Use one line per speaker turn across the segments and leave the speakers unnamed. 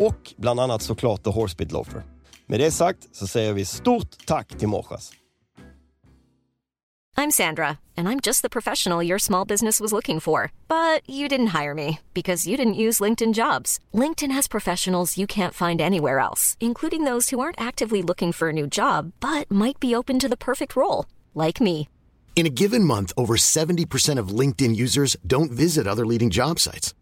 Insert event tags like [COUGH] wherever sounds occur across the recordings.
Och bland annat såklart The Horsebit Loafer. Med det sagt så säger vi stort tack till Morsas.
I'm Sandra, and I'm just the professional your small business was looking for. But you didn't hire me because you didn't use LinkedIn jobs. LinkedIn has professionals you can't find anywhere else, including those who aren't actively looking for a new job but might be open to the perfect role, like me.
In a given month, over 70% of LinkedIn users don't visit other leading job sites.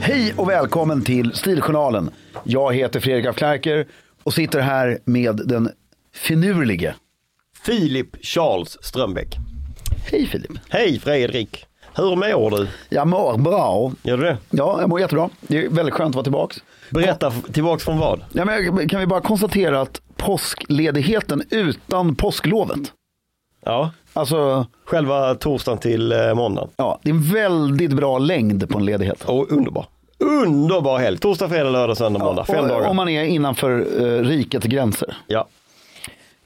Hej och välkommen till Stiljournalen. Jag heter Fredrik af Klerker och sitter här med den finurlige.
Filip Charles Strömbäck.
Hej Filip.
Hej Fredrik! Hur mår du?
Jag mår bra.
Gör du det?
Ja, jag mår jättebra. Det är väldigt skönt att vara tillbaka.
Berätta tillbaks från vad?
Ja, men kan vi bara konstatera att påskledigheten utan påsklovet.
Ja,
Alltså,
själva torsdagen till eh, måndagen.
ja, det är en väldigt bra längd på en ledighet.
Och underbar. Underbar helg. Torsdag, fredag, lördag, söndag, måndag. Fem
Och-
dagar.
Om man är innanför eh, rikets gränser.
Ja.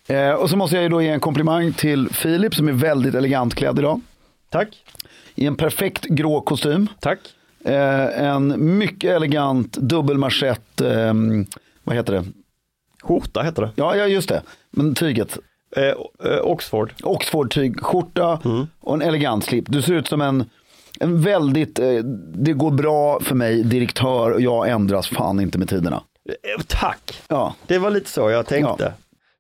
Eh, och så måste jag ju då ge en komplimang till Filip som är väldigt elegant klädd idag.
Tack.
I en perfekt grå kostym.
Tack.
Eh, en mycket elegant dubbelmarschett, eh, vad heter det?
Skjorta heter det.
Ja, ja, just det. Men tyget.
Eh, eh, Oxford.
Oxford-tygskjorta
Mm.
och en elegant slip. Du ser ut som en, en väldigt, eh, det går bra för mig, direktör och jag ändras fan inte med tiderna.
Eh, tack.
Ja,
Det var lite så jag tänkte.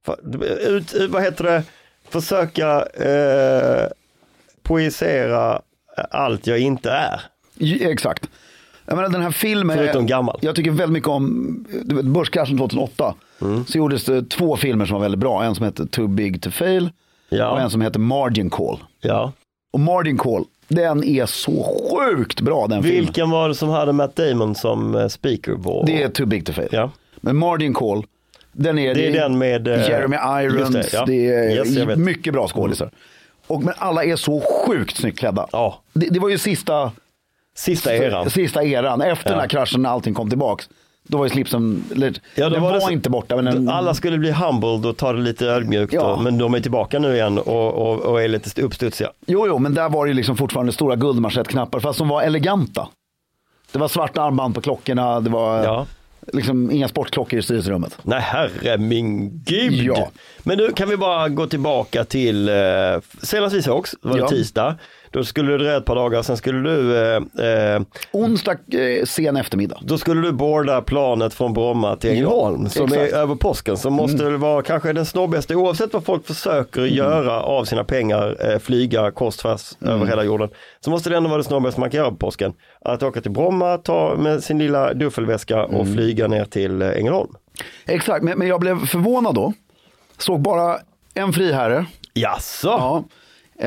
Fa- Ut, ut- vad heter det? Försöka eh, poesera allt jag inte är.
j- exakt. Jag menar den här filmen.
Förutom gammal.
Jag tycker väldigt mycket om du vet, börskraschen 2008.
Mm.
Så gjordes det två filmer som var väldigt bra. En som hette Too Big To Fail och
Ja.
en som hette Margin Call.
ja.
Och Margin Call, den är så sjukt bra den filmen.
Vilken var det som hade Matt Damon som eh, speaker? På?
Det är Too Big To Fail.
Ja.
Men Margin Call, Den är,
Det är
det
den med, eh,
Jeremy Irons.
just
Det,
det, ja.
är
Yes, jag vet.
mycket bra skådisar. Och, men alla är så sjukt snyggt klädda.
Ja.
Det, det var ju sista,
Sista eran.
sista eran. Efter den här kraschen när allting kom tillbaks. Då var ju slipsen, eller,
Ja, då
den var,
det så-
inte borta. Men den,
Alla skulle bli humbled och ta det lite ödmjukt.
Mm. Ja.
då, Men de är tillbaka nu igen och, och, och är lite uppstudsiga.
Jo, jo, men där var det ju liksom fortfarande stora guldmanschettknappar, fast de var eleganta. Det var svarta armband på klockorna, det var
Ja.
liksom inga sportklockor i styrelserummet.
Nej, herre min gud.
Ja.
Men nu kan vi bara gå tillbaka till eh, senast vi sågs, det var det
Ja.
tisdag. Då skulle du dröja ett par dagar, sen skulle du, eh, eh,
Onsdag eh, sen eftermiddag.
då skulle du boarda planet från Bromma till Ängelholm som
exakt. Mm.
är över påsken. Som måste väl vara kanske den snobbigaste, oavsett vad folk försöker göra av sina pengar, eh, flyga korsfärs
Mm.
över hela jorden. Så måste det ändå vara det snobbigaste man kan göra på påsken. Att åka till Bromma, ta med sin lilla duffelväska och
Mm.
flyga ner till eh, Ängelholm.
Exakt, men, men jag blev förvånad då. Såg bara en friherre,
Jaså?
ja.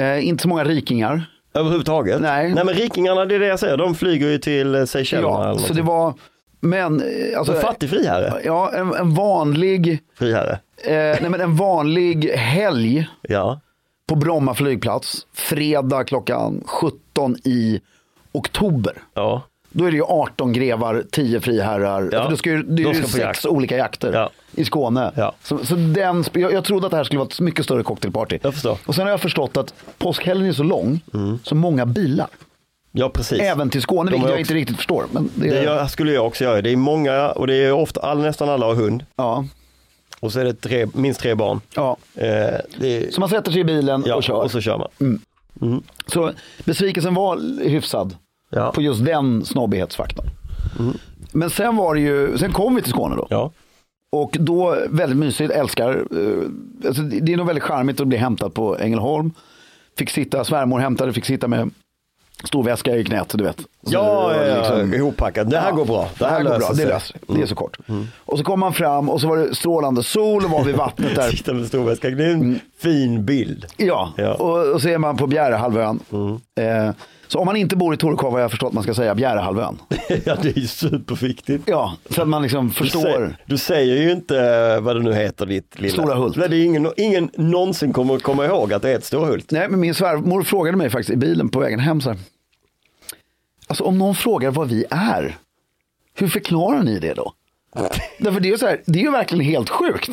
eh, inte så många rikingar.
Överhuvudtaget?
Nej.
Nej men rikingarna, det är det jag säger, de flyger ju till eh, Seychellerna. eller
Ja, så
någonting.
det var, men eh, alltså,
Så fattig friherre?
ja, en, en vanlig,
Friherre?
eh, nej, men en vanlig helg
Ja.
på Bromma flygplats, fredag klockan 17 i oktober.
Ja.
Då är det ju 18 grevar, 10 friherrar.
Ja.
För det, ska ju, det är ju
De ska på
sex
jakt.
olika jakter
Ja.
i Skåne.
Ja.
Så, så den, sp- jag, jag trodde att det här skulle vara ett mycket större cocktailparty.
Jag förstår.
Och sen har jag förstått att påskhelgen är så lång, så många bilar.
ja, precis.
Även till Skåne,
De
vilket
har
jag
också-
inte riktigt förstår. Men det,
Det gör, skulle jag också göra. Det är många, och det är ofta, all, nästan alla har hund.
ja,
Och så är det tre, minst tre barn.
ja.
Eh, det är,
Så man sätter sig i bilen
ja,
och kör.
så kör man.
Så besvikelsen var hyfsad
Ja.
på just den snobbighetsfaktorn.
Mm.
Men sen var det ju, sen kom vi till Skåne då.
Ja.
Och då, väldigt mysigt, älskar. eh, Alltså, det det är nog väldigt charmigt att bli hämtad på Ängelholm. Fick sitta, svärmor hämtade, fick sitta med stor väska i knät, du vet. Så
Ja,
det var liksom-
ja, ihoppackad. Det här
Ja,
går bra.
Det här, går bra,
löser Mm.
det
sig.
löser sig. Det är så kort. Och så kom man fram och så var det strålande sol och var vid vattnet
[LAUGHS]
där.
Sitta med storväska, det är en
Mm.
fin bild. [LAUGHS]
Ja,
Ja. Mm.
Och, och så är man på Bjärehalvön. Eh, så om man inte bor i Torekov har jag förstått att man ska säga
[LAUGHS]
Bjärehalvön.
ja, det är ju superviktigt.
Ja, så att man liksom
Du
förstår.
säger, du säger ju inte eh, vad det nu heter ditt lilla.
Stora Hult.
Nej, det är ingen, ingen någonsin kommer att komma ihåg att det är ett Stora Hult.
Nej, men min svärmor frågade mig faktiskt i bilen på vägen hem så här. Alltså om någon frågar vad vi är, hur förklarar ni det
[LAUGHS]
då? Därför det är ju så här, det är ju verkligen helt sjukt.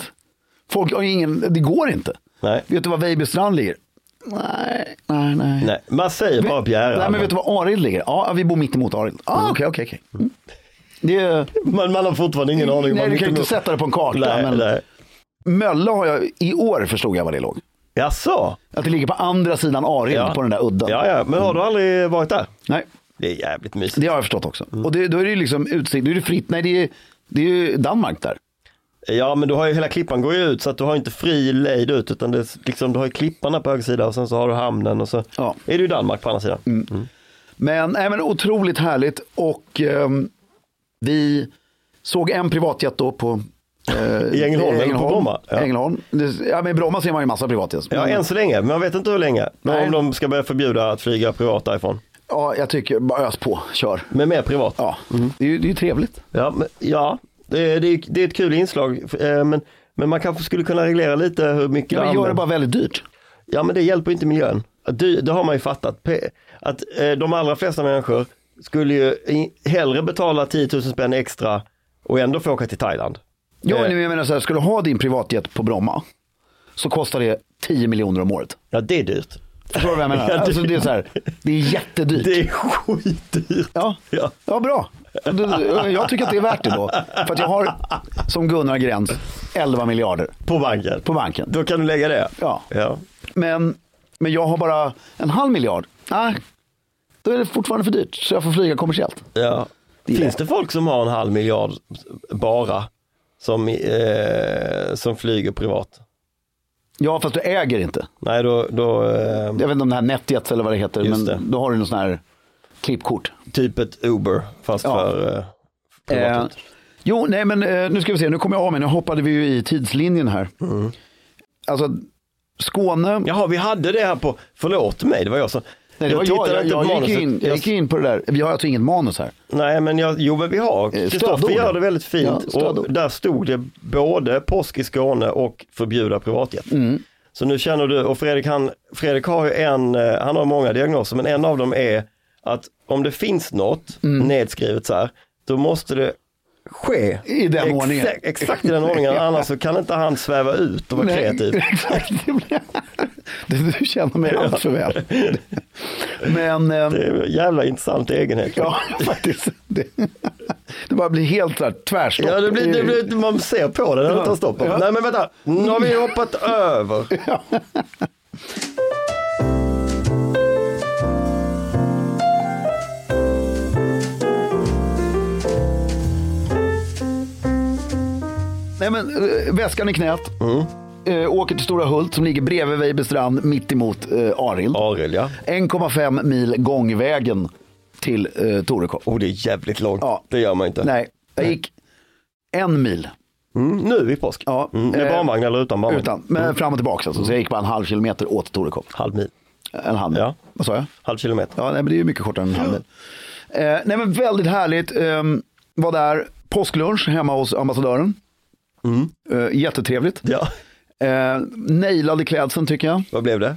Folk har ju ingen, det går inte.
Nej.
Vet du var Vejbystrand ligger? Nej, nej, nej.
Nej, man säger bara Bjärehalvön.
Nej, men vet du var Arild ligger? Ja, vi bor mitt emot Arild. Ah, Okej, okej, okej. Mm. Det är,
man, man har fortfarande ingen aning.
nej,
man
du kan ju inte
nog-
sätta det på en karta.
Nej,
men
nej.
Mölle har jag, i år förstod jag var det låg.
Jaså?
Att det ligger på andra sidan Arild på den där udden.
Ja, ja, men har du aldrig varit där?
Nej.
Det är jävligt mysigt.
Det har jag förstått också. Och det, då är det ju liksom utsikt, då är det fritt, nej det är, det är ju Danmark där.
Ja, men du har ju hela klippan går ju ut så att du har inte fri lejd ut utan det är liksom, du har ju klipparna på höger sida och sen så har du hamnen och så
Ja. Mm.
är du i Danmark på andra sidan.
Men, nej, men otroligt härligt och ehm, vi såg en privatjet då på eh,
I Ängelholm eller på Bromma? Ja.
Ja. Ängelholm. Det, ja, men i Bromma ser man ju massa privatjet.
Ja,
Men-
än så länge, men jag vet inte hur länge.
Nej.
Om de ska börja förbjuda att flyga privat därifrån.
ja, jag tycker bara ös på, kör.
Men mer privat.
Ja,
Mm.
det, är ju, det är ju trevligt.
Ja, men, ja det, det, är, det är ett kul inslag. eh, Men, men man kanske skulle kunna reglera lite hur mycket
Ja, men gör det
används.
bara väldigt dyrt.
Ja men det hjälper inte miljön. Att dy- det har man ju fattat. P- Att eh, de allra flesta människor skulle ju i- hellre betala 10 000 spänn extra och ändå få åka till Thailand.
Ja,
Eh.
men jag menar så här, ska du ha din privatjet på Bromma så kostar det 10 miljoner om året.
Ja det är dyrt.
Förstår du vad jag menar?
[LAUGHS] Ja, det-
Alltså, det, är så här, det är jättedyrt.
Det är [LAUGHS] skitdyrt.
Ja,
Ja.
ja. bra. Du- Jag tycker att det är värt det då. För att jag har, som Gunnar Gräns, 11 miljarder
På banken.
på banken.
Då kan du lägga det.
Ja.
ja.
Men, men jag har bara en halv miljard. Nej, då är det fortfarande för dyrt. Så jag får flyga kommersiellt.
ja. Finns det folk som har en halv miljard bara som, eh, som flyger privat?
Ja, fast du äger inte.
Nej då, då eh,
Jag vet inte om det här Netjets eller vad det heter.
Just
men
det.
då har du någon sån här klippkort.
typ ett Uber fast
Ja.
för eh, privat.
Eh, jo, nej men eh, nu ska vi se. Nu kommer jag av mig. Nu hoppade vi ju i tidslinjen här.
Mm.
Alltså, Skåne.
Jaha, vi hade det här på, förlåt mig, det var jag som,
Nej, det var jag,
tittade
jag,
inte på
jag, gick
manuset.
ju in, jag gick ju in på det där. Vi har alltså inget manus här.
Nej, men jag, jo, men vi har. Kristoffer
stödord.
gör det väldigt
Eh, Ja,
fint.
stödord.
och där stod det både påsk i Skåne och förbjuda privatjet.
Mm.
Så nu känner du, och Fredrik, han, Fredrik har ju en, eh, han har många diagnoser, men en av dem är att om det finns något
Mm.
nedskrivet så här, då måste det ske
I den ordningen.
Exakt i
[LAUGHS]
den ordningen, annars så kan inte han sväva ut och vara kreativ.
Exakt. det blir- Du, du känner mig allt för väl. Men, eh,
Det är en jävla intressant egenhet.
ja faktiskt. Det, det bara blir helt så här tvärstopp.
Ja, det blir, det blir, man ser på det när det tar stopp.
eh, Ja. Mm.
Nej men vänta, nu har vi hoppat över.
Nej men, eh, väskan i knät.
Mm.
Eh, åker till Stora Hult som ligger bredvid Vejbystrand mitt emot eh, Arild.
Arild ja.
1,5 mil gångvägen till eh, Torekov.
Oh, det är jävligt långt.
Ja.
Det gör man inte.
Nej, jag gick en mil
Mm, nu i påsk.
Ja.
Mm, med
Eh,
barnvagn eller utan barnvagn?
utan, men fram och tillbaka alltså. Så jag gick bara en halv kilometer åt Torekov.
Halv mil.
En halv mil.
Ja.
Vad sa jag?
Halv kilometer.
Ja, nej, men det är ju mycket kortare än en halv mil. Eh, nej men väldigt härligt. Ehm, var där, påsklunch hemma hos ambassadören.
Mm.
Eh, jättetrevligt.
Ja.
Eh, nailade klädseln tycker jag.
Vad blev det?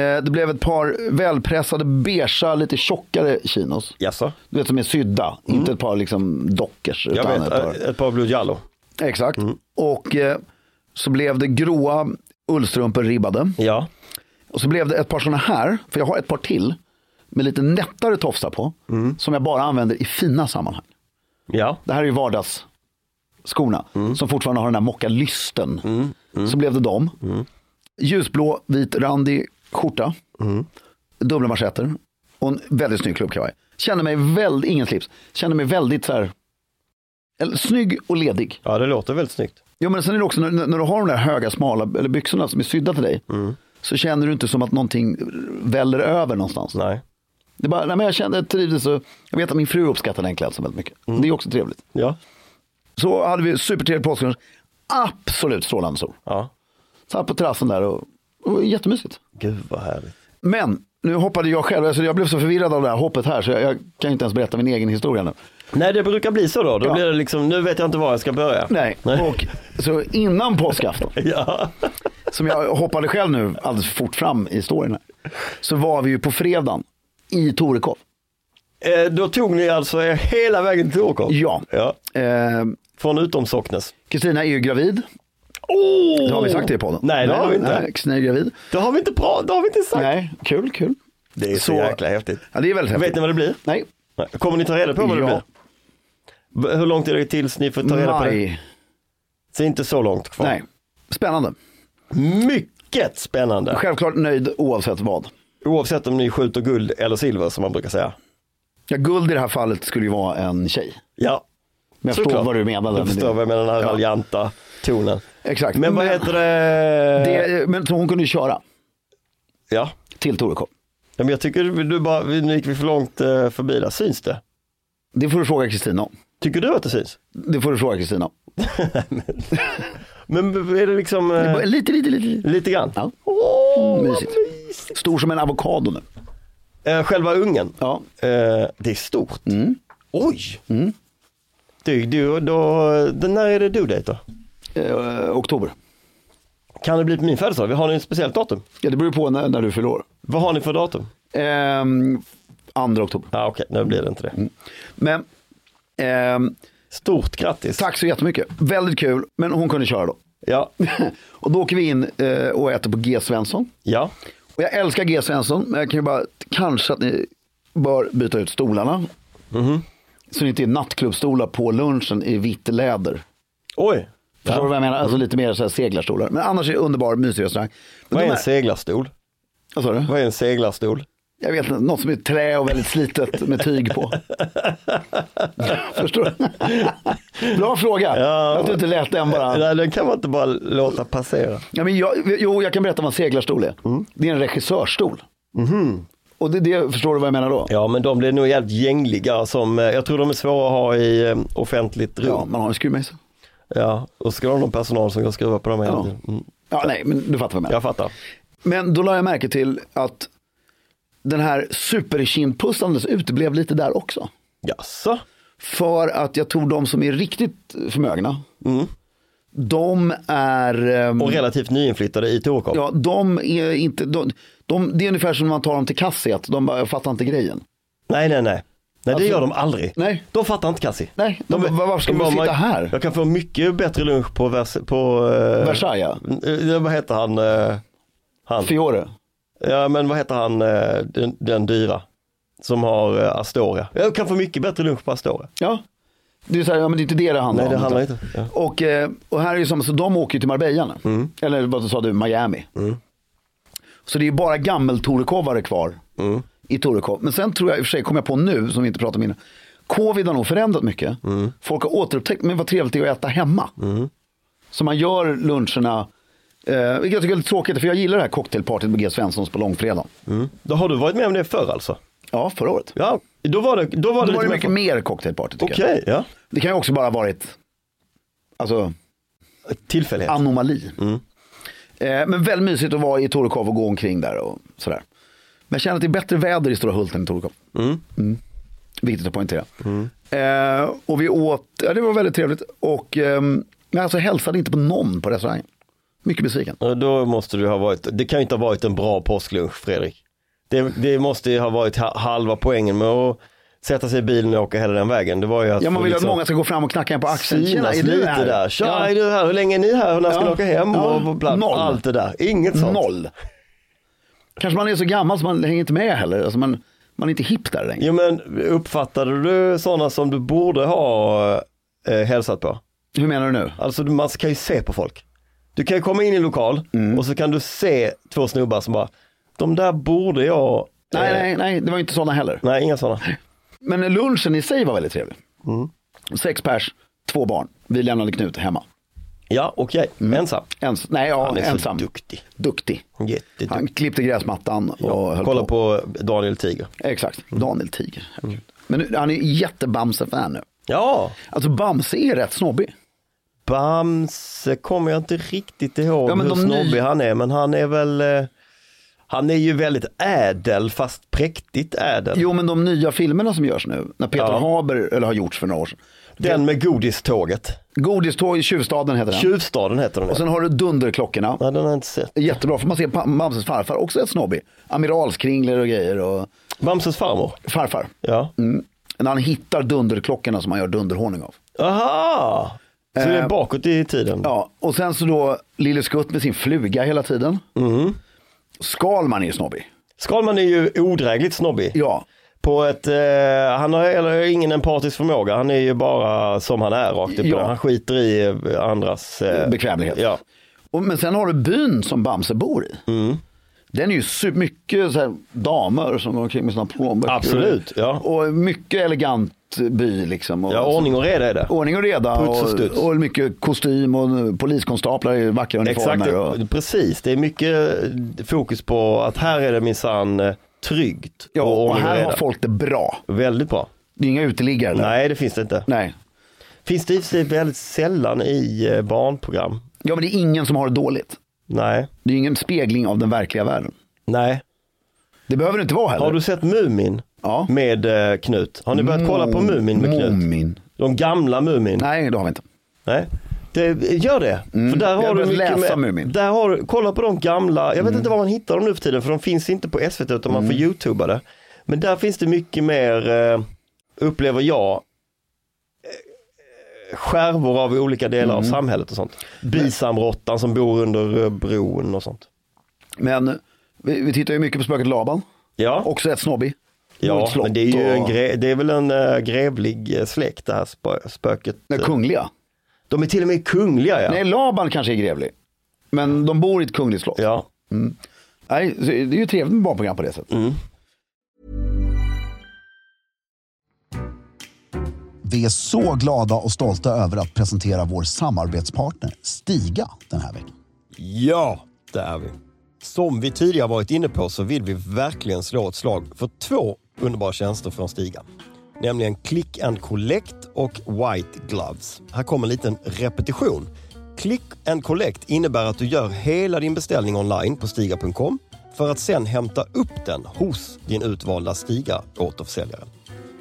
Eh, det blev ett par välpressade, beigea, lite tjockare chinos.
Jaså?
Du vet som är sydda, inte ett par liksom dockers.
Mm. Jag
utan
vet, eh, mm.
ett par...
ett, par Blue Jallo.
Exakt. Och eh, så blev det gråa ullstrumpor ribbade.
Ja.
Och så blev det ett par sådana här, för jag har ett par till. Med lite nättare tofsar på.
Mm.
Som jag bara använder i fina sammanhang.
Ja.
Det här är ju vardagsskorna. Som fortfarande har den där mockalysten. Så blev det dem. Ljusblå, vit, randig skjorta. Dubbla manschetter. Och en väldigt snygg klubbkavaj. Kände mig väldigt, ingen slips. Kände mig väldigt så här. Eller, snygg och ledig.
Ja, det låter väldigt snyggt.
Jo men sen är det också när, när du har de där höga smala eller byxorna som är sydda till dig. Så känner du inte som att någonting väller över någonstans.
Nej.
Det är bara, nej men jag kände jag trivdes och jag vet att min fru uppskattar den klädseln väldigt mycket. Det är också trevligt.
Ja.
Så hade vi supertrevlig påsklunch. Absolut strålande sol.
Ja.
Satt på terrassen där och, och jättemysigt.
Gud vad härligt.
Men nu hoppade jag själv, alltså jag blev så förvirrad av det här hoppet här så jag, jag kan ju inte ens berätta min egen historia nu.
Nej, det brukar bli så då. Då
Ja.
blir det liksom, nu vet jag inte var jag ska börja.
Nej, och så innan påskafton.
[LAUGHS] Ja.
som jag hoppade själv nu alldeles fort fram i storyn här. Så var vi ju på fredagen i Torekov.
Eh, Då tog ni alltså er hela vägen till Åkop?
Ja.
ja.
Eh,
Från utom Socknes.
Kristina är ju gravid.
Oh!
Det har vi sagt det i podden.
Nej, det har vi inte.
nej, Kristina är gravid.
Det har vi inte bra, det har vi inte sagt.
Nej, kul, kul.
Det är så, jäkla häftigt.
Ja, det är väldigt häftigt.
Vet ni vad det blir?
Nej,
Nej. Kommer ni ta reda på vad det
Ja.
blir? B- Hur långt är det tills ni får ta reda på det?
maj.
Så inte så långt kvar.
Nej, spännande.
Mycket spännande.
Självklart nöjd oavsett vad.
Oavsett om ni skjuter guld eller silver som man brukar säga.
Ja, guld i det här fallet skulle ju vara en tjej.
Ja,
Men jag förstår
såklart.
vad du menade.
Jag
men
förstår
det-
vad jag menar, den här
Ja.
raljanta tonen.
Exakt.
Men vad heter det?
det? Men så hon kunde ju köra
Ja.
till Torekov.
Ja, Men jag tycker du bara, nu gick vi för långt eh, förbi där. Syns det?
Det får du fråga Kristina om.
Tycker du att det syns?
Det får du fråga Kristina om.
Men b- är det liksom eh,
Lite, lite, lite. lite.
lite grann?
Ja.
Åh, vad
Mysigt.
mysigt.
Stor som en avokado nu.
Eh, Själva ungen?
Ja. Mm.
Eh, det är stort. Oj! Du, du, då, den- när är det du dejt då?
Eh, oktober.
Kan det bli på min födelsedag? Har ni ett speciellt datum?
Ja, det beror på när, när du fyller år.
Vad har ni för datum?
Ehm, andra oktober.
Ja, ah, Okej, nu blir det inte det.
Mm. Men ehm,
Stort grattis!
tack så jättemycket. Väldigt kul, men hon kunde köra då.
Ja,
Och då åker vi in eh, och äter på G. Svensson.
ja.
Och jag älskar G. Svensson, men jag kan ju bara, kanske att ni bör byta ut stolarna.
Mhm.
Så det inte är nattklubbstolar på lunchen i vitt läder.
Oj!
Förstår du
Ja.
vad jag menar? Alltså lite mer så här seglarstolar. Men annars är det underbar, mysig restaurang. Men
Vad är
de
en
här-
seglarstol?
Vad sa du?
Vad är en seglarstol?
Jag vet inte, något som är trä och väldigt slitet med tyg
[LAUGHS]
på. Förstår du? Bra fråga.
Ja.
Att du inte lät den bara.
Nej, den kan man inte bara låta passera.
Ja, men jag, jo, jag kan berätta vad en seglarstol är.
Mm.
Det är en regissörstol. Och det, det förstår du vad jag menar då?
Mhm. Ja, men de blir nog jävligt gängliga som, eh, jag tror de är svåra att ha i eh, offentligt
Ja,
rum.
man har en skruvmejsel.
Ja, och ska de ha någon personal som kan skruva på dem hela
Ja.
tiden. Mm.
Ja, nej, men du fattar vad jag menar.
Jag fattar.
Men då la jag märke till att den här superkindpussandes uteblev lite där också.
Jaså?
För att jag tror de som är riktigt förmögna, de är... ehm,
Mm. Och relativt nyinflyttade i Torekov.
Ja, de är inte, de, de, det är ungefär som när man tar dem till Kassi, att de bara, jag fattar inte grejen.
Nej, nej, nej. Nej, det
Alltså-
gör de aldrig.
Nej.
De fattar inte Kassi.
Nej, de, var- varför ska
de
man
bara,
sitta
"Man-
här?
Jag kan få mycket bättre lunch på, vers, på eh,
Versailles, ja.
eh, vad heter han? eh, han?
Fiore.
Ja men vad heter han, eh, den, den dyra? Som har eh, Astoria. Jag kan få mycket bättre lunch på Astoria.
Ja. Det är så här, ja, men det är inte det det handlar
Nej det
om.
handlar
utan-
inte. Mm. Ja.
Och, eh, och här är ju som, så de åker ju till Marbella nu. Eller vad sa du, Miami.
Mm.
Så det är ju bara gammel-Torekovare kvar
Mm.
i Torekov. Men sen tror jag, i och för sig, kom jag på nu, som vi inte pratade om innan. Covid har nog förändrat mycket.
Mm.
Folk har återupptäckt, men vad trevligt det är att äta hemma. Så man gör luncherna, eh, vilket jag tycker är lite tråkigt, för jag gillar det här cocktailpartyt med G. Svenssons på långfredagen.
Då har du varit med om det förr alltså?
Ja, förra året.
Ja, då var det, då var
Då
det
var det
lite
mycket
mer.
mer cocktailparty tycker jag.
Okej, ja.
Det kan ju också bara ha varit, alltså,
Tillfällighet.
anomali.
Mm.
Eh, men väldigt mysigt att vara i Torekov och gå omkring där och sådär. Men jag känner att det är bättre väder i Stora Hulten än i Torekov. Mm. Viktigt att poängtera.
Mm.
Eh, och vi åt, ja, det var väldigt trevligt. Och ehm, men alltså hälsade inte på någon på restaurangen. Mycket besviken.
Ja, Då måste du ha varit, det kan ju inte ha varit en bra påsklunch Fredrik. Det, det måste ju ha varit ha- halva poängen med att sätta sig i bilen och åka hela den vägen. Det var ju att
Ja, man
få
vill
liksom
att många ska gå fram och knacka en på axeln.
synas
är du
lite
här?
där. Tja,
Ja.
är du här? Hur länge är ni här? Och när ska
Ja.
ni åka hem?
Ja.
Och bland,
Noll.
Allt det där. Inget sånt.
Noll. Kanske man är så gammal så man hänger inte med heller. Alltså man, man är inte hipp där längre.
Jo men uppfattade du sådana som du borde ha eh, hälsat på?
Hur menar du nu?
Alltså du- man kan ju se på folk. Du kan ju komma in i en lokal
Mm.
och så kan du se två snubbar som bara, de där borde jag, eh,
Nej, nej, nej, det var ju inte sådana heller.
nej inga sådana.
Men lunchen i sig var väldigt trevlig.
Mm.
Sex pers, två barn. Vi lämnade Knut hemma.
Ja okej,
Mm.
ensam.
Ens, nej, ja,
Han är så
ensam.
duktig.
Duktig.
Jätteduktig.
Han klippte gräsmattan och höll
Kolla på Mm. Daniel Tiger.
Exakt, Daniel Tiger. Men nu, han är jättebamse-fan nu.
Ja,
Alltså Bamse är rätt snobbig.
Bamse kommer jag inte riktigt ihåg
Ja, men
hur
de
snobbig
ny-
han är, men han är väl eh, han är ju väldigt ädel fast präktigt ädel.
Jo men de nya filmerna som görs nu, när Peter
Ja.
Haber, eller har gjorts för några år sedan.
Den med godiståget.
Godiståg i Tjuvstaden heter den.
Tjuvstaden heter den.
Och sen har du Dunderklockorna.
Nej, den har jag inte sett.
Jättebra, för man ser Pa- Bamses farfar, också rätt snobbig. Amiralskringler och grejer och
Bamses farmor.
farfar.
Ja.
Mm. När han hittar dunderklockorna som han gör dunderhonung av.
Aha! Så det är bakåt i tiden.
Eh. Ja, och sen så då Lille Skutt med sin fluga hela tiden.
Mm.
Skalman är ju snobbig.
Skalman är ju odrägligt snobbig.
Ja,
På ett, eh, han har eller, ingen empatisk förmåga, han är ju bara som han är rakt upp.
Ja.
Han skiter i eh, andras eh,
bekvämlighet.
Ja.
Och, men sen har du byn som Bamse bor i.
Mm.
Den är ju super, mycket så här, damer som går omkring med sina plånböcker.
Absolut, ja.
Och mycket elegant by liksom. Och,
ja, ordning och reda är det.
ordning och reda.
Puts och studs.
Och, och mycket kostym och poliskonstaplar i vackra uniformer.
Exakt, eh,
och,
precis. Det är mycket eh, fokus på att här är det minsann eh, tryggt.
ja, och,
ordning
här
reda.
har folk det bra.
Väldigt bra.
Det är inga uteliggare där.
Nej, det finns det inte.
Nej.
Finns det i och för sig väldigt sällan i eh, barnprogram.
Ja men det är ingen som har det dåligt.
Nej,
Det är ingen spegling av den verkliga världen.
nej.
Det behöver det inte vara heller.
Har du sett Mumin
Ja.
med eh, Knut? Har ni börjat kolla
Mm.
på Mumin med Knut?
Mumin.
De gamla Mumin?
Nej, det har vi inte.
Nej. Det, gör det. För där
Mm. Jag har
har du
börjat
mycket
läsa Mm.
med,
Mumin.
Där har, du- kolla på de gamla, jag vet inte var man hittar dem nu för tiden för de finns inte på SVT utan man
Mm.
får youtuba det. Men där finns det mycket mer, eh, upplever jag, eh, skärvor av olika delar
Mm.
av samhället och sånt. Bisamråttan som bor under eh, bron och sånt.
Men vi, vi tittar ju mycket på spöket Laban.
Ja,
Också rätt snobbig. Och
ja
ett slott
men det är ju en
och-
gre- det är väl en eh, grevlig eh, släkt det här spö- spöket.
Nej, kungliga.
De är till och med kungliga ja.
Nej, Laban kanske är grevlig. Men de bor i ett kungligt slott.
ja.
Nej, så det är ju trevligt med barnprogram på det
Mm.
sättet.
Vi är så glada och stolta över att presentera vår samarbetspartner Stiga den här veckan.
Ja, det är vi. Som vi tidigare varit inne på så vill vi verkligen slå ett slag för två underbara tjänster från Stiga. Nämligen Click and Collect och White Gloves. Här kommer en liten repetition. Click and Collect innebär att du gör hela din beställning online på stiga.com för att sen hämta upp den hos din utvalda Stiga återförsäljare.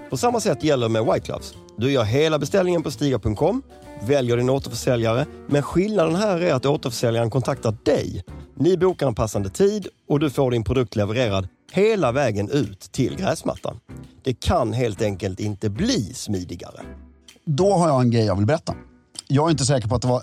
På samma sätt gäller med White Gloves. Du gör hela beställningen på stiga.com, väljer din återförsäljare, men skillnaden här är att återförsäljaren kontaktar dig. Ni bokar en passande tid och du får din produkt levererad hela vägen ut till gräsmattan. Det kan helt enkelt inte bli smidigare.
Då har jag en grej jag vill berätta. Jag är inte säker på att det var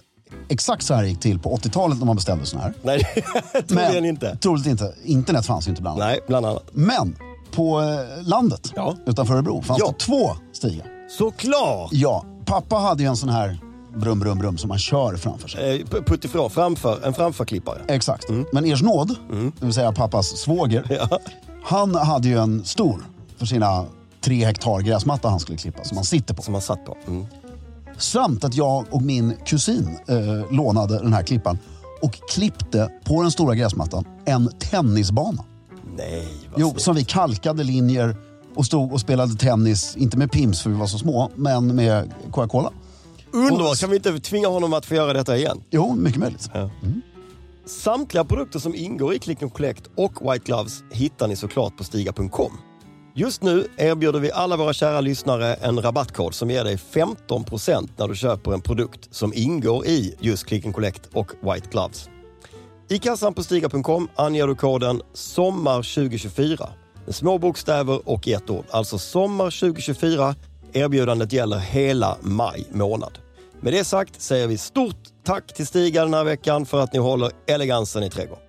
exakt så här det gick till på 80-talet när man beställde sån här.
Nej, [LAUGHS] troligen inte.
Troligt inte. Internet fanns ju inte bland annat.
Nej, bland annat.
Men på eh, landet
Ja.
utanför Örebro fanns
Ja.
det två stigar.
Såklart!
Ja, pappa hade ju en sån här brum, brum, brum som man kör framför sig.
Eh, p- Puttifrån, framför, en framförklippare.
Exakt. Men Ers nåd, det vill säga pappas svåger, han hade ju en stor för sina tre hektar gräsmatta han skulle klippa som han sitter på.
Som man satt på. Mm.
Samt att jag och min kusin eh, lånade den här klippan och klippte på den stora gräsmattan en tennisbana.
Nej, vad
Jo,
snyggt.
som vi kalkade linjer och stod och spelade tennis, inte med pims för vi var så små, men med Coca-Cola.
Underbart! Kan vi inte tvinga honom att få göra detta igen?
Jo, mycket möjligt.
Samtliga produkter som ingår i Click and Collect och White Gloves hittar ni såklart på Stiga.com. Just nu erbjuder vi alla våra kära lyssnare en rabattkod som ger dig 15% när du köper en produkt som ingår i just Click and Collect och White Gloves. I kassan på Stiga.com anger du koden SOMMAR2024 med små bokstäver och i ett ord. Alltså SOMMAR2024. Erbjudandet gäller hela maj månad. Med det sagt säger vi stort tack till Stiga den här veckan för att ni håller elegansen i trädgården.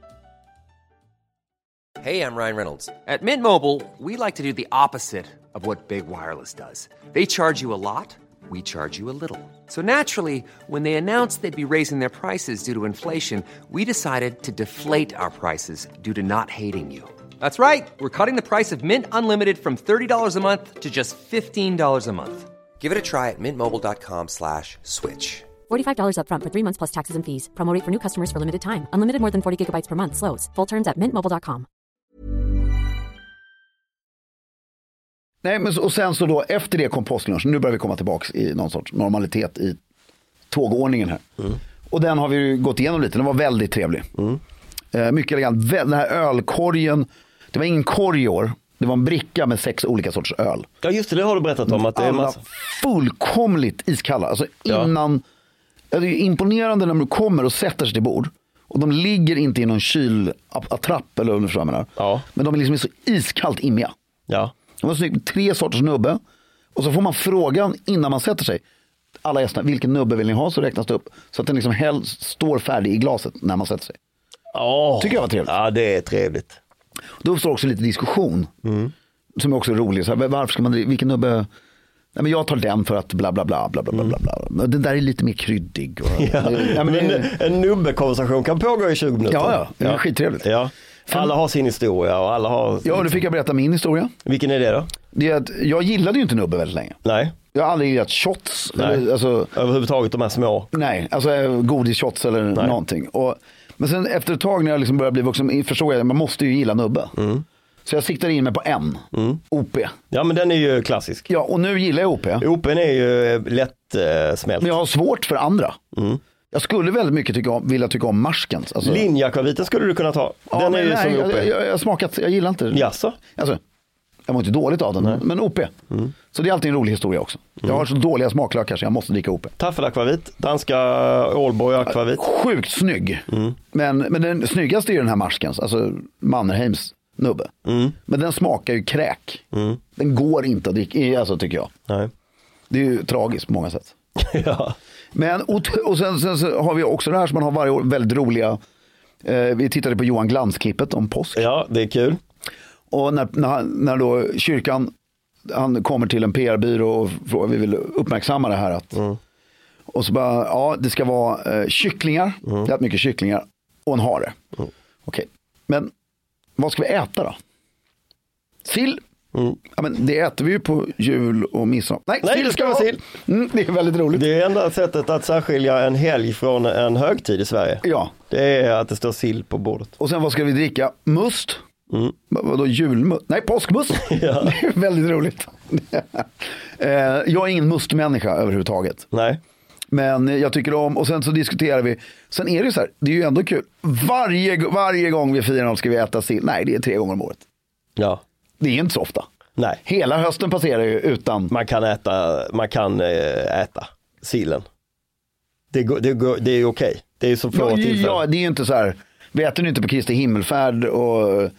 Hey, I'm Ryan Reynolds. At Mint Mobile, we like to do the opposite of what Big Wireless does. They charge you a lot, we charge you a little. So naturally, when they announced they'd be raising their prices due to inflation, we decided to deflate our prices due to not hating you. That's right. We're cutting the price of Mint Unlimited from $30 a month to just $15 a month. Give it a try at mintmobile.com slash switch.
$45 upfront for three months plus taxes and fees. Promo rate for new customers for limited time. Unlimited more than 40 gigabytes per month. Slows. Full terms at mintmobile.com.
Nej, men, så- och sen så då efter det kom påsklunchen. Nu börjar vi komma tillbaka i någon sorts normalitet i tågordningen här.
Mm.
Och den har vi ju gått igenom lite. Den var väldigt trevlig. Eh, mycket elegant. Vä- Den här ölkorgen. Det var ingen korg i år. Det var en bricka med sex olika sorters öl.
Ja just det, det har du berättat om. Att det är
Alla
massa...
fullkomligt iskalla. Alltså
Ja.
innan, ja. Det är ju imponerande när du kommer och sätter sig till bord. Och de ligger inte i någon kylattrapp eller vad du förstår vad jag menar.
Ja.
Men de är liksom så iskallt immiga.
Ja.
Det var snyggt, tre sorters nubbe. Och så får man frågan innan man sätter sig. Alla gästerna, vilken nubbe vill ni ha? Så räknas det upp. Så att den liksom helst står färdig i glaset när man sätter sig.
Oh.
Tycker jag var trevligt.
Ja, det är trevligt.
Då uppstår också lite diskussion. Som är också rolig. Så här, varför ska man, dri- vilken nubbe? Nej, men jag tar den för att bla bla bla bla bla bla. bla, bla. Men Den där är lite mer kryddig. Och, Mm. [LAUGHS] ja, men
en,
det,
en nubbekonversation kan pågå i 20 minuter.
Ja, ja. Det är skittrevligt.
Ja. Alla har sin historia och alla har...
ja, nu fick jag berätta min historia.
Vilken är det då?
Det är att jag gillade ju inte nubbe väldigt länge.
Nej,
Jag har aldrig gillat shots.
Nej.
Eller, alltså,
överhuvudtaget de här små.
Nej, alltså eh, godisshots eller någonting. Och, men sen efter ett tag när jag liksom började bli vuxen förstod jag att man måste ju gilla nubbe.
Mm.
Så jag siktade in mig på en, OP.
Ja men den är ju klassisk.
Ja, och nu gillar jag OP.
Open är ju eh, lätt eh, smält.
Men jag har svårt för andra.
Mm.
Jag skulle väldigt mycket tycka om, vilja tycka om marskens. Alltså,
Linjakaviten skulle du kunna ta.
Ja,
den
men
är ju
nej,
som
jag,
Open.
jag, jag, har smakat, jag gillar inte den.
Jaså?
Alltså, jag mår inte dåligt av den, men OP.
Mm.
Så det är alltid en rolig historia också. Jag har så dåliga smaklökar så jag måste dricka OP.
Taffelakvavit, danska Ålborg akvavit.
Sjukt snygg. Men, men den snyggaste är ju den här marskens, alltså Mannerheims nubbe. Men den smakar ju kräk. Den går inte att dricka, eh, alltså, tycker jag.
Nej. [LAUGHS]
Det är ju tragiskt på många sätt.
ja.
Men, och, och sen, sen så har vi också det här som man har varje år, väldigt roliga. Eh, vi tittade på Johan Glans-klippet om påsk.
ja, det är kul.
Och när, när, han- när då kyrkan, han kommer till en PR-byrå och frågar, vi vill uppmärksamma det här. Att, Och så bara, ja det ska vara eh, kycklingar, det är mycket kycklingar och en hare. Okej, men vad ska vi äta då? Sill? Ja, men det äter vi ju på jul och midsommar. Nej,
Nej,
sill
det
ska
ska
vi ha.
vara sill.
Mm, det är väldigt roligt.
Det är enda sättet att särskilja en helg från en högtid i Sverige.
Ja,
Det är att det står sill på bordet.
och sen vad ska vi dricka? Must?
Mm.
Va- Vadå julmust? Nej,
[LAUGHS]
påskmust. [LAUGHS] Det [LAUGHS] är väldigt roligt. Eh, jag är ingen mustmänniska överhuvudtaget.
Nej.
Men jag tycker om, och sen så diskuterar vi. Sen är det så här, det är ju ändå kul. Varje, varje gång vi firar något ska vi äta sill. Nej, det är tre gånger om året.
Ja.
Det är inte så ofta.
Nej,
Hela hösten passerar ju utan.
man kan äta, man kan eh, äta sillen. Det, går- det, går- det är okej. Det är som från
Ja,
och till.
ja, det är ju inte så här, vi äter ju inte på Kristi himmelfärd och eh,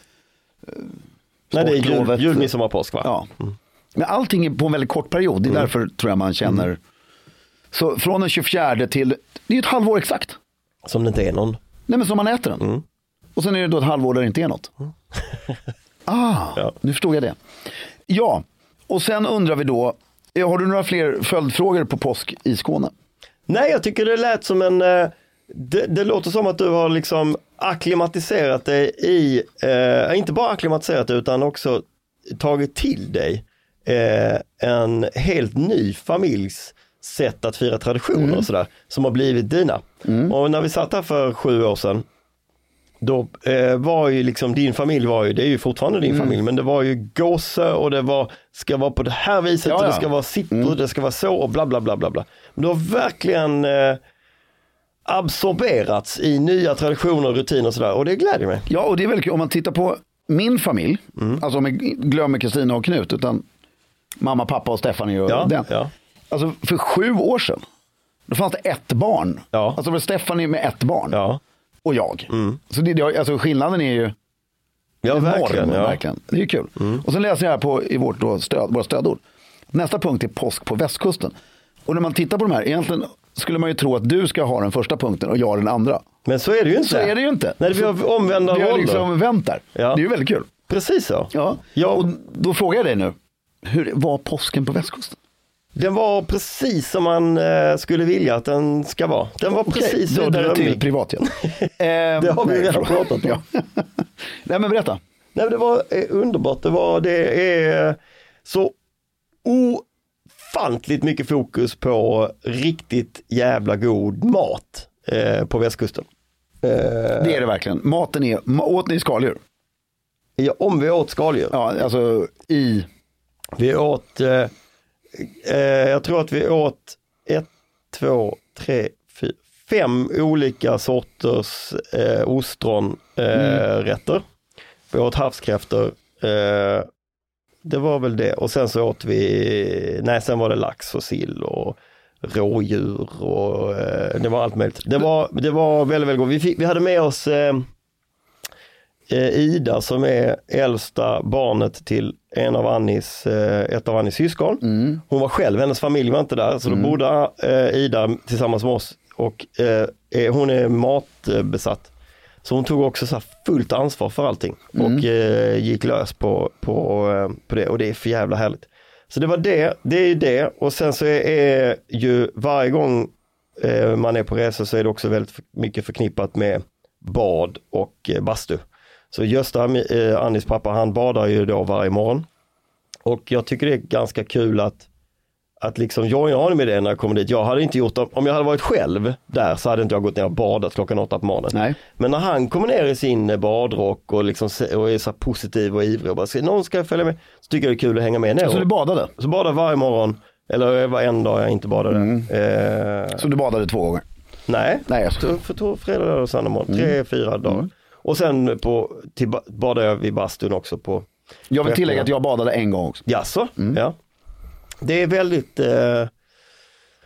Nej, det är jul,
sportlovet.
jul, midsommar, påsk va?
Ja. Men allting är på en väldigt kort period.
Mm.
Det är därför tror jag man känner. Så från den 24 till, det är ett halvår exakt.
Som det inte är någon.
Nej men som man äter den.
Mm.
Och sen är det då ett halvår där det inte är något. [LAUGHS] ah,
Ja.
nu förstod jag det. Ja, och sen undrar vi då, eh, har du några fler följdfrågor på påsk i Skåne?
Nej, jag tycker det lät som en... eh, Det, det låter som att du har liksom akklimatiserat dig i, eh, inte bara akklimatiserat dig utan också tagit till dig eh, en helt ny familjs sätt att fira traditioner och sådär, som har blivit dina. Och när vi satt här för sju år sedan, då eh, var ju liksom din familj var ju, det är ju fortfarande din
Mm.
familj, men det var ju gåse och det var, ska vara på det här viset
Ja,
och det
ja. Mm.
ska vara sitt och det ska vara så och bla bla bla bla. bla. Men du har verkligen eh, absorberats i nya traditioner och rutiner och sådär och det gläder mig.
Ja, och det är väldigt kul. Om man tittar på min familj,
Mm.
alltså om jag glömmer Kristina och Knut, utan mamma, pappa och Stefanie och
Ja,
den.
ja.
Alltså för sju år sedan, då fanns det ett barn.
Ja.
Alltså det var Stefanie med ett barn
Ja, Mm.
och jag. Så det, det, alltså skillnaden är ju
ja
enorm.
verkligen. Ja. Mm.
verkligen. Det är ju kul. Och sen läser jag här på, i vårt då stöd, våra stödord. Nästa punkt är påsk på västkusten. Och när man tittar på de här, egentligen skulle man ju tro att du ska ha den första punkten och jag den andra.
Men så är det ju inte.
Så är det ju inte.
Nej, vi har omvända
Vi
roller.
har liksom vänt där.
Ja.
Det är ju väldigt kul.
Precis så.
Ja,
Ja.
och då frågar jag dig nu. Hur var påsken på västkusten?
Den var precis som man eh, skulle vilja att den ska vara. Den var precis så
Vidare till
drömmig.
privatjet. eh,
[LAUGHS] Det har vi
nej,
redan
förlåt.
pratat om.
Ja. nej men berätta.
Nej, men det var eh, underbart. Det, var, det är så ofantligt mycket fokus på riktigt jävla god mat eh, på västkusten.
Det är det verkligen. Maten är, ma- åt ni skaldjur?
Ja, om vi åt skaldjur.
Ja, alltså i,
Vi åt, eh, eh, jag tror att vi åt ett, två, tre, fyra, fem olika sorters eh, ostronrätter. vi åt havskräftor. Eh, det var väl det. Och sen så åt vi, nej sen var det lax och sill och rådjur och eh, det var allt möjligt. Det var, det var väldigt, väldigt gott. Vi, fick, vi hade med oss eh, eh, Ida som är äldsta barnet till en av Annis, eh, ett av Annis syskon. Hon var själv, hennes familj var inte där, så då bodde eh, Ida tillsammans med oss och eh, eh, hon är matbesatt. Så hon tog också så här fullt ansvar för allting och eh, gick lös på, på, eh, på det och det är för jävla härligt. Så det var det, det är det och sen så är, är ju varje gång eh, man är på resa så är det också väldigt för- mycket förknippat med bad och eh, bastu. Så Gösta, eh, Annis pappa, han badar ju då varje morgon. Och jag tycker det är ganska kul att, att liksom joina honom med det när jag kommer dit. Jag hade inte gjort det, om jag hade varit själv där så hade inte jag gått ner och badat klockan åtta på morgonen.
Nej.
Men när han kommer ner i sin eh, badrock och, liksom, se- och är så här positiv och ivrig och bara, "Ska- någon ska följa med, så tycker jag det är kul att hänga med ner.
så du badade?
så badar jag varje morgon, eller det var en dag jag inte badade. Eh,
Så du badade två gånger?
Nej,
Nej, Mm. jag skojar.
Tog- för tog fredag, lördag och söndag morgon. Tre, fyra dagar. Och sen på, till, ba- badade jag vid bastun också på
Jag vill tillägga att jag badade en gång också.
Jaså?
Mm.
Ja. Det är väldigt, eh,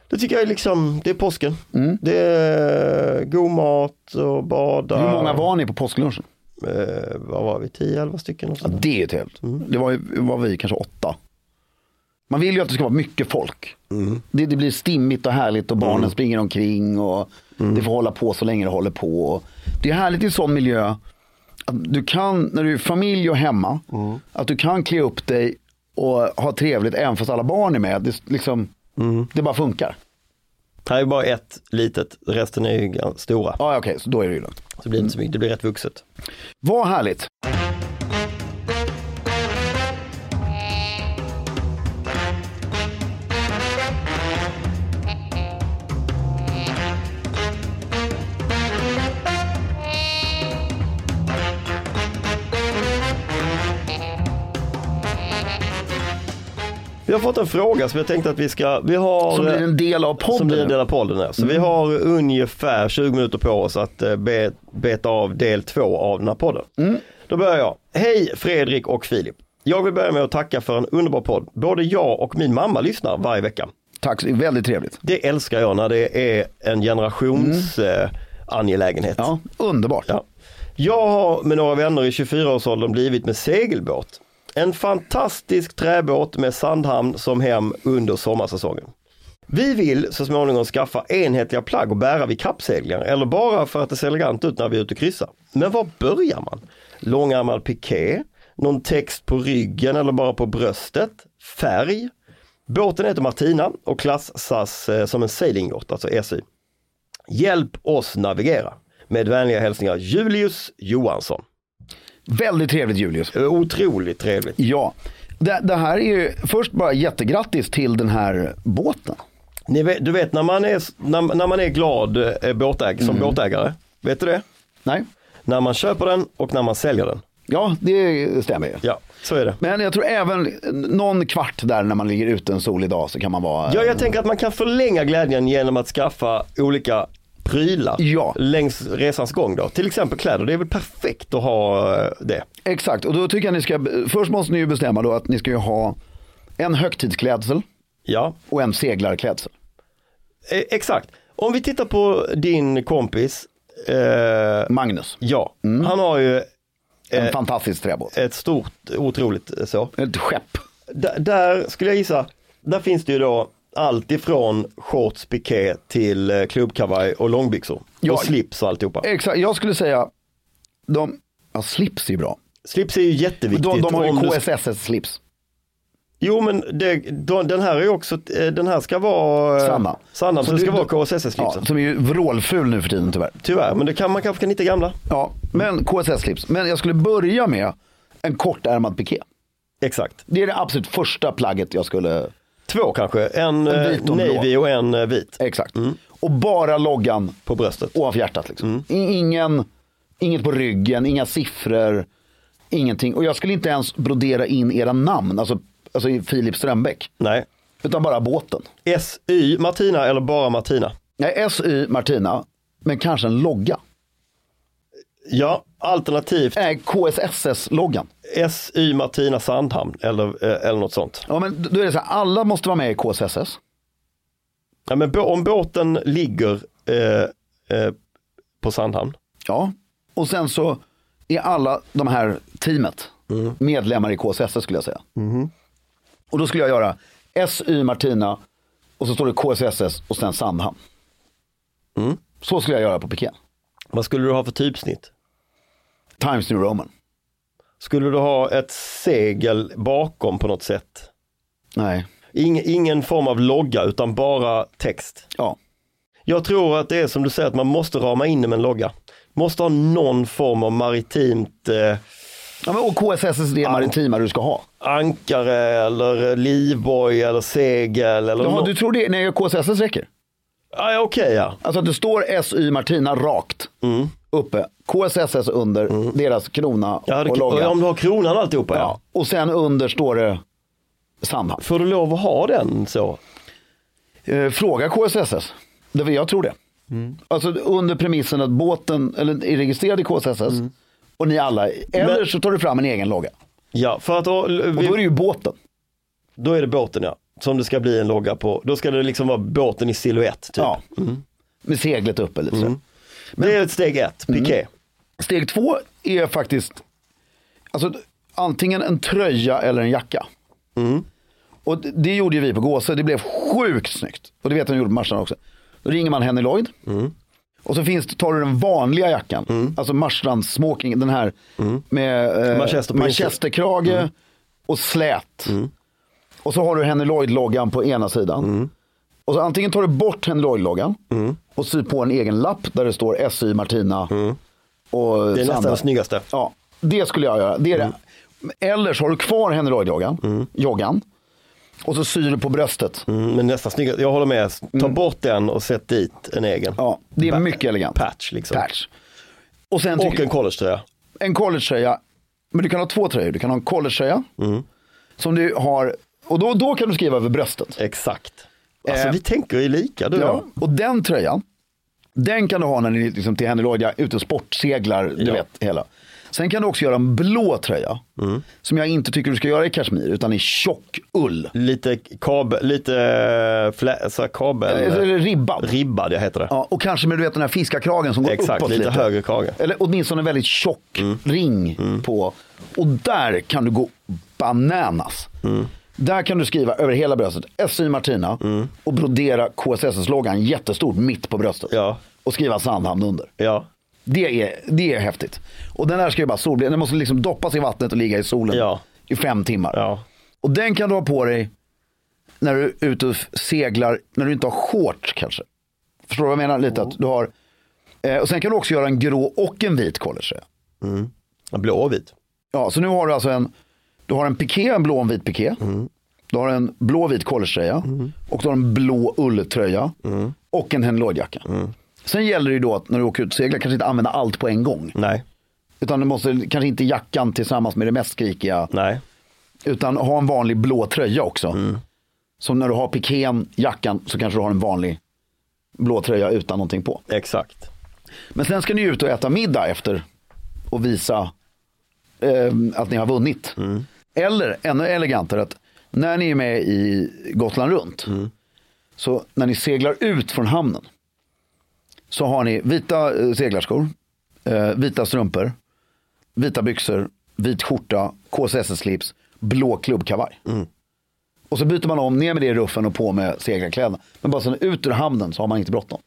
det tycker jag är liksom, det är påsken.
Mm.
Det är god mat och bada.
Hur många var ni på påsklunchen?
Eh, vad var vi, 10-11 stycken? Och
Ja,
sådär.
det är trevligt.
Mm.
Det var, ju- var vi kanske åtta. Man vill ju att det ska vara mycket folk.
Mm.
Det, det blir stimmigt och härligt och barnen springer omkring och
Mm.
det får hålla på så länge det håller på. Och Det är härligt i en sån miljö att du kan, när du är i familj och hemma,
Mm.
att du kan klä upp dig och ha trevligt även fast alla barn är med. Det, liksom,
Mm.
det bara funkar.
Här är bara ett litet, resten är ju gan- stora.
Ja, okej, så då är det ju lugnt.
Så det blir inte så mycket, det blir rätt vuxet.
Vad härligt.
Vi har fått en fråga som jag tänkte att vi ska, vi har
Som blir en del av podden. Mm.
Som blir en del av podden här. Så vi har ungefär 20 minuter på oss att eh, be- beta av del två av den här podden.
Mm.
Då börjar jag. Hej Fredrik och Filip. Jag vill börja med att tacka för en underbar podd. Både jag och min mamma lyssnar varje vecka.
Tack, det är väldigt trevligt.
Det älskar jag när det är en generations eh, angelägenhet.
Mm. Ja, underbart.
Ja. Jag har med några vänner i 24-årsåldern blivit med segelbåt. En fantastisk träbåt med Sandhamn som hem under sommarsäsongen. Vi vill så småningom skaffa enhetliga plagg och bära vid kappseglingar eller bara för att det ser elegant ut när vi är ute och kryssar. Men var börjar man? Långärmad piké? Någon text på ryggen eller bara på bröstet? Färg? Båten heter Martina och klassas eh, som en sailingbåt, alltså SY. Hjälp oss navigera. Med vänliga hälsningar Julius Johansson.
Väldigt trevligt Julius.
Eh, Otroligt trevligt.
Ja, det, det här är ju först bara jättegrattis till den här båten.
Ni vet, du vet när man är, när, när man är glad eh, båtäg, som båtägare, vet du det?
Nej,
När man köper den och när man säljer den.
ja det stämmer ju.
Ja, så är det.
Men jag tror även någon kvart där när man ligger ute en solig dag så kan man vara.
Ja, jag tänker att man kan förlänga glädjen genom att skaffa olika prylar
Ja.
längs resans gång då. Till exempel kläder, det är väl perfekt att ha eh, det.
Exakt, och då tycker jag ni ska, först måste ni ju bestämma då att ni ska ju ha en högtidsklädsel
Ja,
och en seglarklädsel.
eh, exakt. Om vi tittar på din kompis, eh,
Magnus,
ja, han har ju
en fantastisk träbåt.
ett stort, otroligt eh, så.
Ett skepp.
D- där skulle jag gissa, där finns det ju då allt ifrån shorts, piké till eh, klubbkavaj och långbyxor.
Ja. Eh,
Och slips och alltihopa.
Exakt, jag skulle säga, de, ja, slips är ju bra.
Slips är ju jätteviktigt.
De, de har ju
om du-
KSSS-slips.
Jo men det, då- den här är ju också, eh, den här ska vara eh,
Sanna.
Sanna, så
Så
den
du-
ska vara
du-
KSS-slipsen.
Ja, som är ju vrålful nu för tiden tyvärr.
Tyvärr, men det kan, man kanske kan hitta gamla.
Ja, men KSS-slips. Men jag skulle börja med en kortärmad piké.
Exakt.
Det är det absolut första plagget jag skulle,
Två kanske, en,
En vit
eh,
och en blå.
navy och en eh, vit
exakt. Och bara loggan
på bröstet.
ovanför hjärtat. Liksom. I- Ingen, inget på ryggen, inga siffror, ingenting. Och jag skulle inte ens brodera in era namn, alltså, alltså i Filip Strömbäck.
Nej.
Utan bara båten.
SY Martina eller bara Martina?
Nej, SY Martina, men kanske en logga.
Ja, alternativt
Nej, KSSS-loggan.
SY Martina Sandhamn eller, eh, eller något sånt.
Ja, men då är det så här, alla måste vara med i KSSS.
Ja, men bå- om båten ligger eh, eh, på Sandhamn,
Ja, och sen så är alla de här teamet
Mm.
medlemmar i KSSS skulle jag säga.
Mm-hmm.
Och då skulle jag göra SY Martina och så står det KSSS och sen Sandhamn.
Mm.
Så skulle jag göra på pikén.
vad skulle du ha för typsnitt?
Times New Roman.
Skulle du ha ett segel bakom på något sätt?
Nej,
Ing, ingen form av logga utan bara text.
ja.
Jag tror att det är som du säger att man måste rama in det med en logga. Måste ha någon form av maritimt eh,
ja men, och KSSS det maritima du ska ha.
ankare eller eh, livboj eller segel. Eller
Jaha,
nå-
du tror det? Nej, KSSS räcker.
ah, ja, Okej ja.
Alltså att det står SY Martina rakt
Mm.
uppe. KSSS under, deras krona
ja det,
och logga.
om du har kronan och alltihopa ja.
Ja, och sen under står det Sandhamn.
Får du lov att ha den så?
Eh, fråga KSSS. Det var, jag tror det. Alltså under premissen att båten eller, är registrerad i KSSS och ni alla, eller
Men-
så tar du fram en egen logga.
Ja, för att då,
Och då är det ju båten.
då är det båten ja. Som det ska bli en logga på. Då ska det liksom vara båten i siluett. Typ.
Ja. Med seglet uppe lite så.
Det är ett steg ett,
Mm.
piké.
Steg två är faktiskt alltså, antingen en tröja eller en jacka. Och det- det gjorde ju vi på Gåse, det blev sjukt snyggt. Och det vet jag de gjorde på Marstrand också. Då ringer man Henny Lloyd. Och så finns, det- tar du den vanliga jackan, alltså Marstrands smoking, den här med eh,
Manchester på
manchesterkrage och slät. Och så har du Henny Lloyd-loggan på ena sidan.
Mm.
Och så antingen tar du bort Henny Lloyd-loggan och syr på en egen lapp där det står SY Martina och
Mm. Det är nästan Mm.
Sandra.
det snyggaste.
Ja, det skulle jag göra. Det är det. Eller så har du kvar Henry Lloyd-joggan joggan, och så syr du på bröstet.
Mm, men nästan snyggare, jag håller med. Ta bort den och sätt dit en egen.
Mm. Ja, det är
Pa-
mycket elegant.
Patch liksom.
Patch. Och sen
Och
tycker-
en collegetröja. Mm.
en collegetröja. Men du kan ha två tröjor. Du kan ha en collegetröja. Som du har Och då, då kan du skriva över bröstet.
Exakt. Alltså
Eh,
vi tänker ju lika du och
Ja.
jag.
Och den tröjan, den kan du ha när ni liksom till Henry Lloyd, ja, ute och sportseglar, du
Ja.
vet hela. Sen kan du också göra en blå tröja.
Mm.
Som jag inte tycker du ska göra i kashmir, utan i tjock ull.
Lite kabel, lite eh, flä, så här kabel.
Eller, eller ribbad.
Ribbad, jag heter det.
Ja, och kanske med du vet, den här fiskakragen som går
Exakt,
uppåt
lite
lite.
högre krage. Mm.
Eller åtminstone en väldigt tjock ring på. Och där kan du gå bananas.
Mm.
Där kan du skriva över hela bröstet, SY Martina
Mm.
och brodera KSS-loggan jättestort mitt på bröstet.
Ja.
Och skriva Sandhamn under.
Ja,
Det är, det är häftigt. Och den här ska ju bara solbli. Den måste liksom doppas i vattnet och ligga i solen
Ja.
i fem timmar.
ja.
Och den kan du ha på dig när du är ute och f- seglar, när du inte har shorts kanske. Förstår du vad jag menar? Lite att du har, eh, och sen kan du också göra en grå och en vit collegetröja.
Blå och vit.
Ja, så nu har du alltså en, du har en piké, en blå och en vit piké.
Mm.
Du har en blå och vit collegetröja och du har en blå ulltröja
Mm.
och en Henry Lloyd-jacka. Sen gäller det ju då att när du åker ut och seglar kanske inte använda allt på en gång.
Nej,
Utan du måste kanske inte jackan tillsammans med det mest skrikiga.
nej.
Utan ha en vanlig blå tröja också. Som när du har pikén, jackan, så kanske du har en vanlig blå tröja utan någonting på.
Exakt.
Men sen ska ni ut och äta middag efter och visa eh, att ni har vunnit. Eller ännu elegantare att när ni är med i Gotland runt. Så när ni seglar ut från hamnen. Så har ni vita eh, seglarskor, eh, vita strumpor, vita byxor, vit skjorta, KSS-slips, blå klubbkavaj. Och så byter man om, ner med det i ruffen och på med seglarkläderna. Men bara så ut ur hamnen så har man inte bråttom.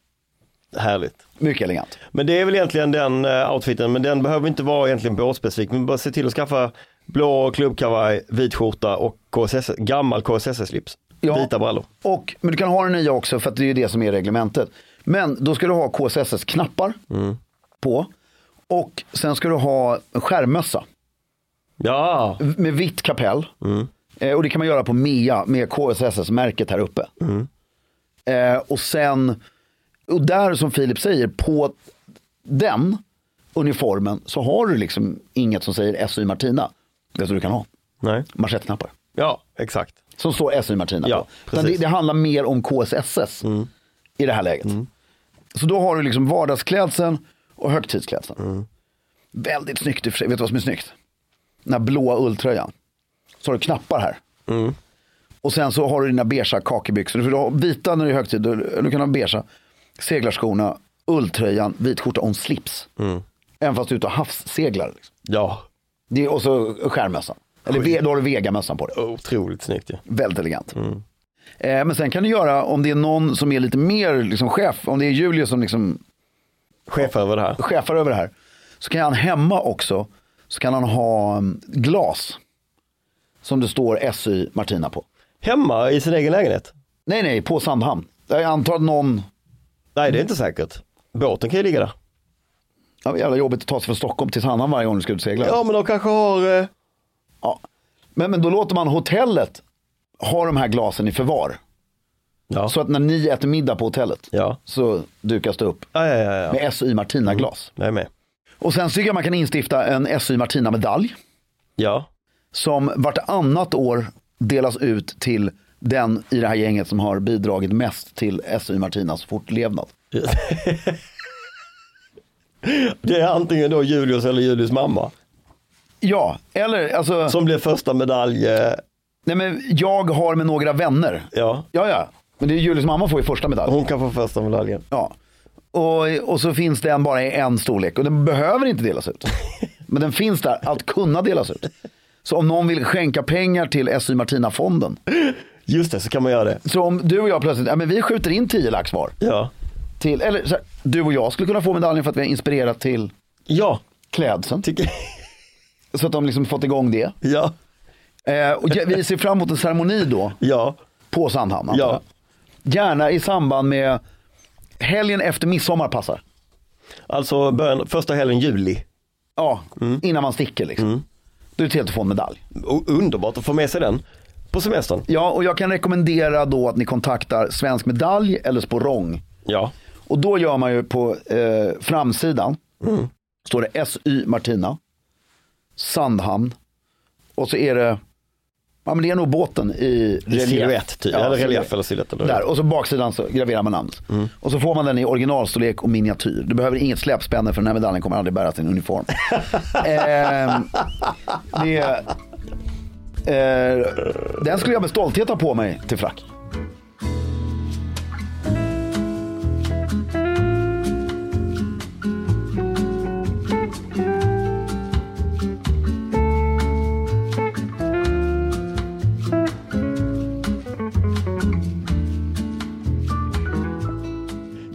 Härligt.
Mycket elegant.
Men det är väl egentligen den eh, outfiten, men den behöver inte vara egentligen båtspecifik. Men bara se till att skaffa blå klubbkavaj, vit skjorta och KSS, gammal KSS-slips.
Ja.
Vita brallor.
Och, men du kan ha den nya också för att det är ju det som är reglementet. Men då ska du ha KSSs knappar på. Och sen ska du ha en skärmmössa
Ja,
med vitt kapell. Eh, och det kan man göra på MEA med KSSS-märket här uppe. Eh, och sen, och där som Filip säger, på den uniformen så har du liksom inget som säger SY Martina. Det som du kan ha,
nej.
manschettknappar.
Ja, exakt.
Som står SU Martina
Ja,
på. Utan det,
precis. Mm.
det handlar mer om KSSS i det här läget. Så då har du liksom vardagsklädseln och högtidsklädseln.
Mm.
Väldigt snyggt i och för sig. Vet du vad som är snyggt? Den här blåa ulltröjan. Så har du knappar här.
Mm.
Och sen så har du dina beigea kakebyxor. Du får ha vita när det är högtid. Du, du kan ha beigea. Seglarskorna, ulltröjan, vit skjorta och en slips.
Mm.
Även fast du är ute och havsseglar. Liksom.
Ja,
Det, och så skärmmössan. Eller ve- då har du vegamössan på dig.
otroligt snyggt ju.
Väldigt elegant. Eh, men sen kan du göra, om det är någon som är lite mer liksom, chef, om det är Julius som liksom
Chef över det här.
chefar över det här, så kan han hemma också, så kan han ha mm, glas som det står SY Martina på.
Hemma i sin egen lägenhet?
Nej, nej, på Sandhamn. Jag antar att någon,
Nej, det är inte säkert. Båten kan ju ligga där.
ja, jävla jobbigt att ta sig från Stockholm till Sandhamn varje gång du ska ut och segla.
Ja, men de kanske har... eh,
Ja. Men, men då låter man hotellet ha de här glasen i förvar.
Ja,
Så att när ni äter middag på hotellet
ja.
så dukas det upp
ja, ja, ja. ja.
med SY Martina-glas.
Jag är med.
Och sen tycker jag man kan instifta en SY Martina-medalj
Ja,
som vartannat år delas ut till den i det här gänget som har bidragit mest till SY Martinas fortlevnad.
det är antingen då Julius eller Julius mamma
Ja, eller alltså,
som blir första medalj. eh,
nej men jag har med några vänner.
Ja,
Ja, ja, men det är Julius mamma får ju första medalj.
hon kan få första medaljen.
Ja. Och, och så finns den bara i en storlek och den behöver inte delas ut. Men den finns där att kunna delas ut. Så om någon vill skänka pengar till SY Martina-fonden.
Just det, så kan man göra det.
Så om du och jag plötsligt, ja men vi skjuter in 10 lax var.
Ja,
till, eller så här, du och jag skulle kunna få medaljen för att vi har inspirerat till
ja,
klädseln.
tycker
Så att de liksom fått igång det.
[LAUGHS] Ja,
Eh, och ja, vi ser fram emot en ceremoni då
ja,
på Sandhamn. antar
ja.
jag. Gärna i samband med helgen efter midsommar passar.
Alltså början, första helgen juli.
Ja, innan man sticker liksom. Då är det trevligt att få en medalj.
O- underbart att få med sig den på semestern.
Ja, och jag kan rekommendera då att ni kontaktar Svensk Medalj eller Sporrong.
Ja,
Och då gör man ju på eh, framsidan,
Mm.
står det SY Martina, Sandhamn och så är det Ja men det är nog båten i relief.
Silhuett typ, eller
silhuett.
relief eller silhuett eller-
Där, och så baksidan så graverar man namnet.
Mm.
Och så får man den i originalstorlek och miniatyr. Du behöver inget släpspänne för den här medaljen kommer aldrig bäras i en
[LAUGHS]
uniform. Ehm, det, eh, den skulle jag med stolthet ha på mig till frack.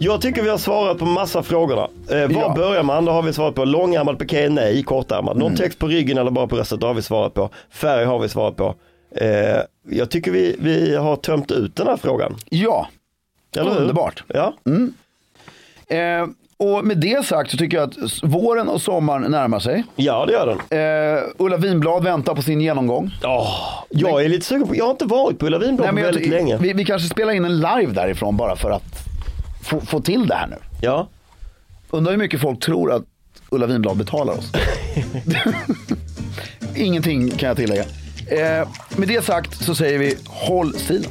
Jag tycker vi har svarat på massa frågorna. Eh, var
Ja.
börjar man? Då har vi svarat på långärmad piké, nej, kortärmad.
Mm.
Någon text på ryggen eller bara på bröstet, då har vi svarat på. Färg har vi svarat på. Eh, jag tycker vi, vi har tömt ut den här frågan.
Ja,
Eller hur?
Underbart. Mm.
Ja.
eh, och med det sagt så tycker jag att s- våren och sommaren närmar sig.
ja, det gör den.
Eh, Ulla Winblad väntar på sin genomgång.
Åh, jag är lite sugen på, jag har inte varit på Ulla Vinblad på
jag-
väldigt länge.
Vi, vi kanske spelar in en live därifrån bara för att få, få till det här nu.
Ja.
Undrar hur mycket folk tror att Ulla Winblad betalar
[LAUGHS]
oss. Ingenting kan jag tillägga. Eh, med det sagt så säger vi håll stilen.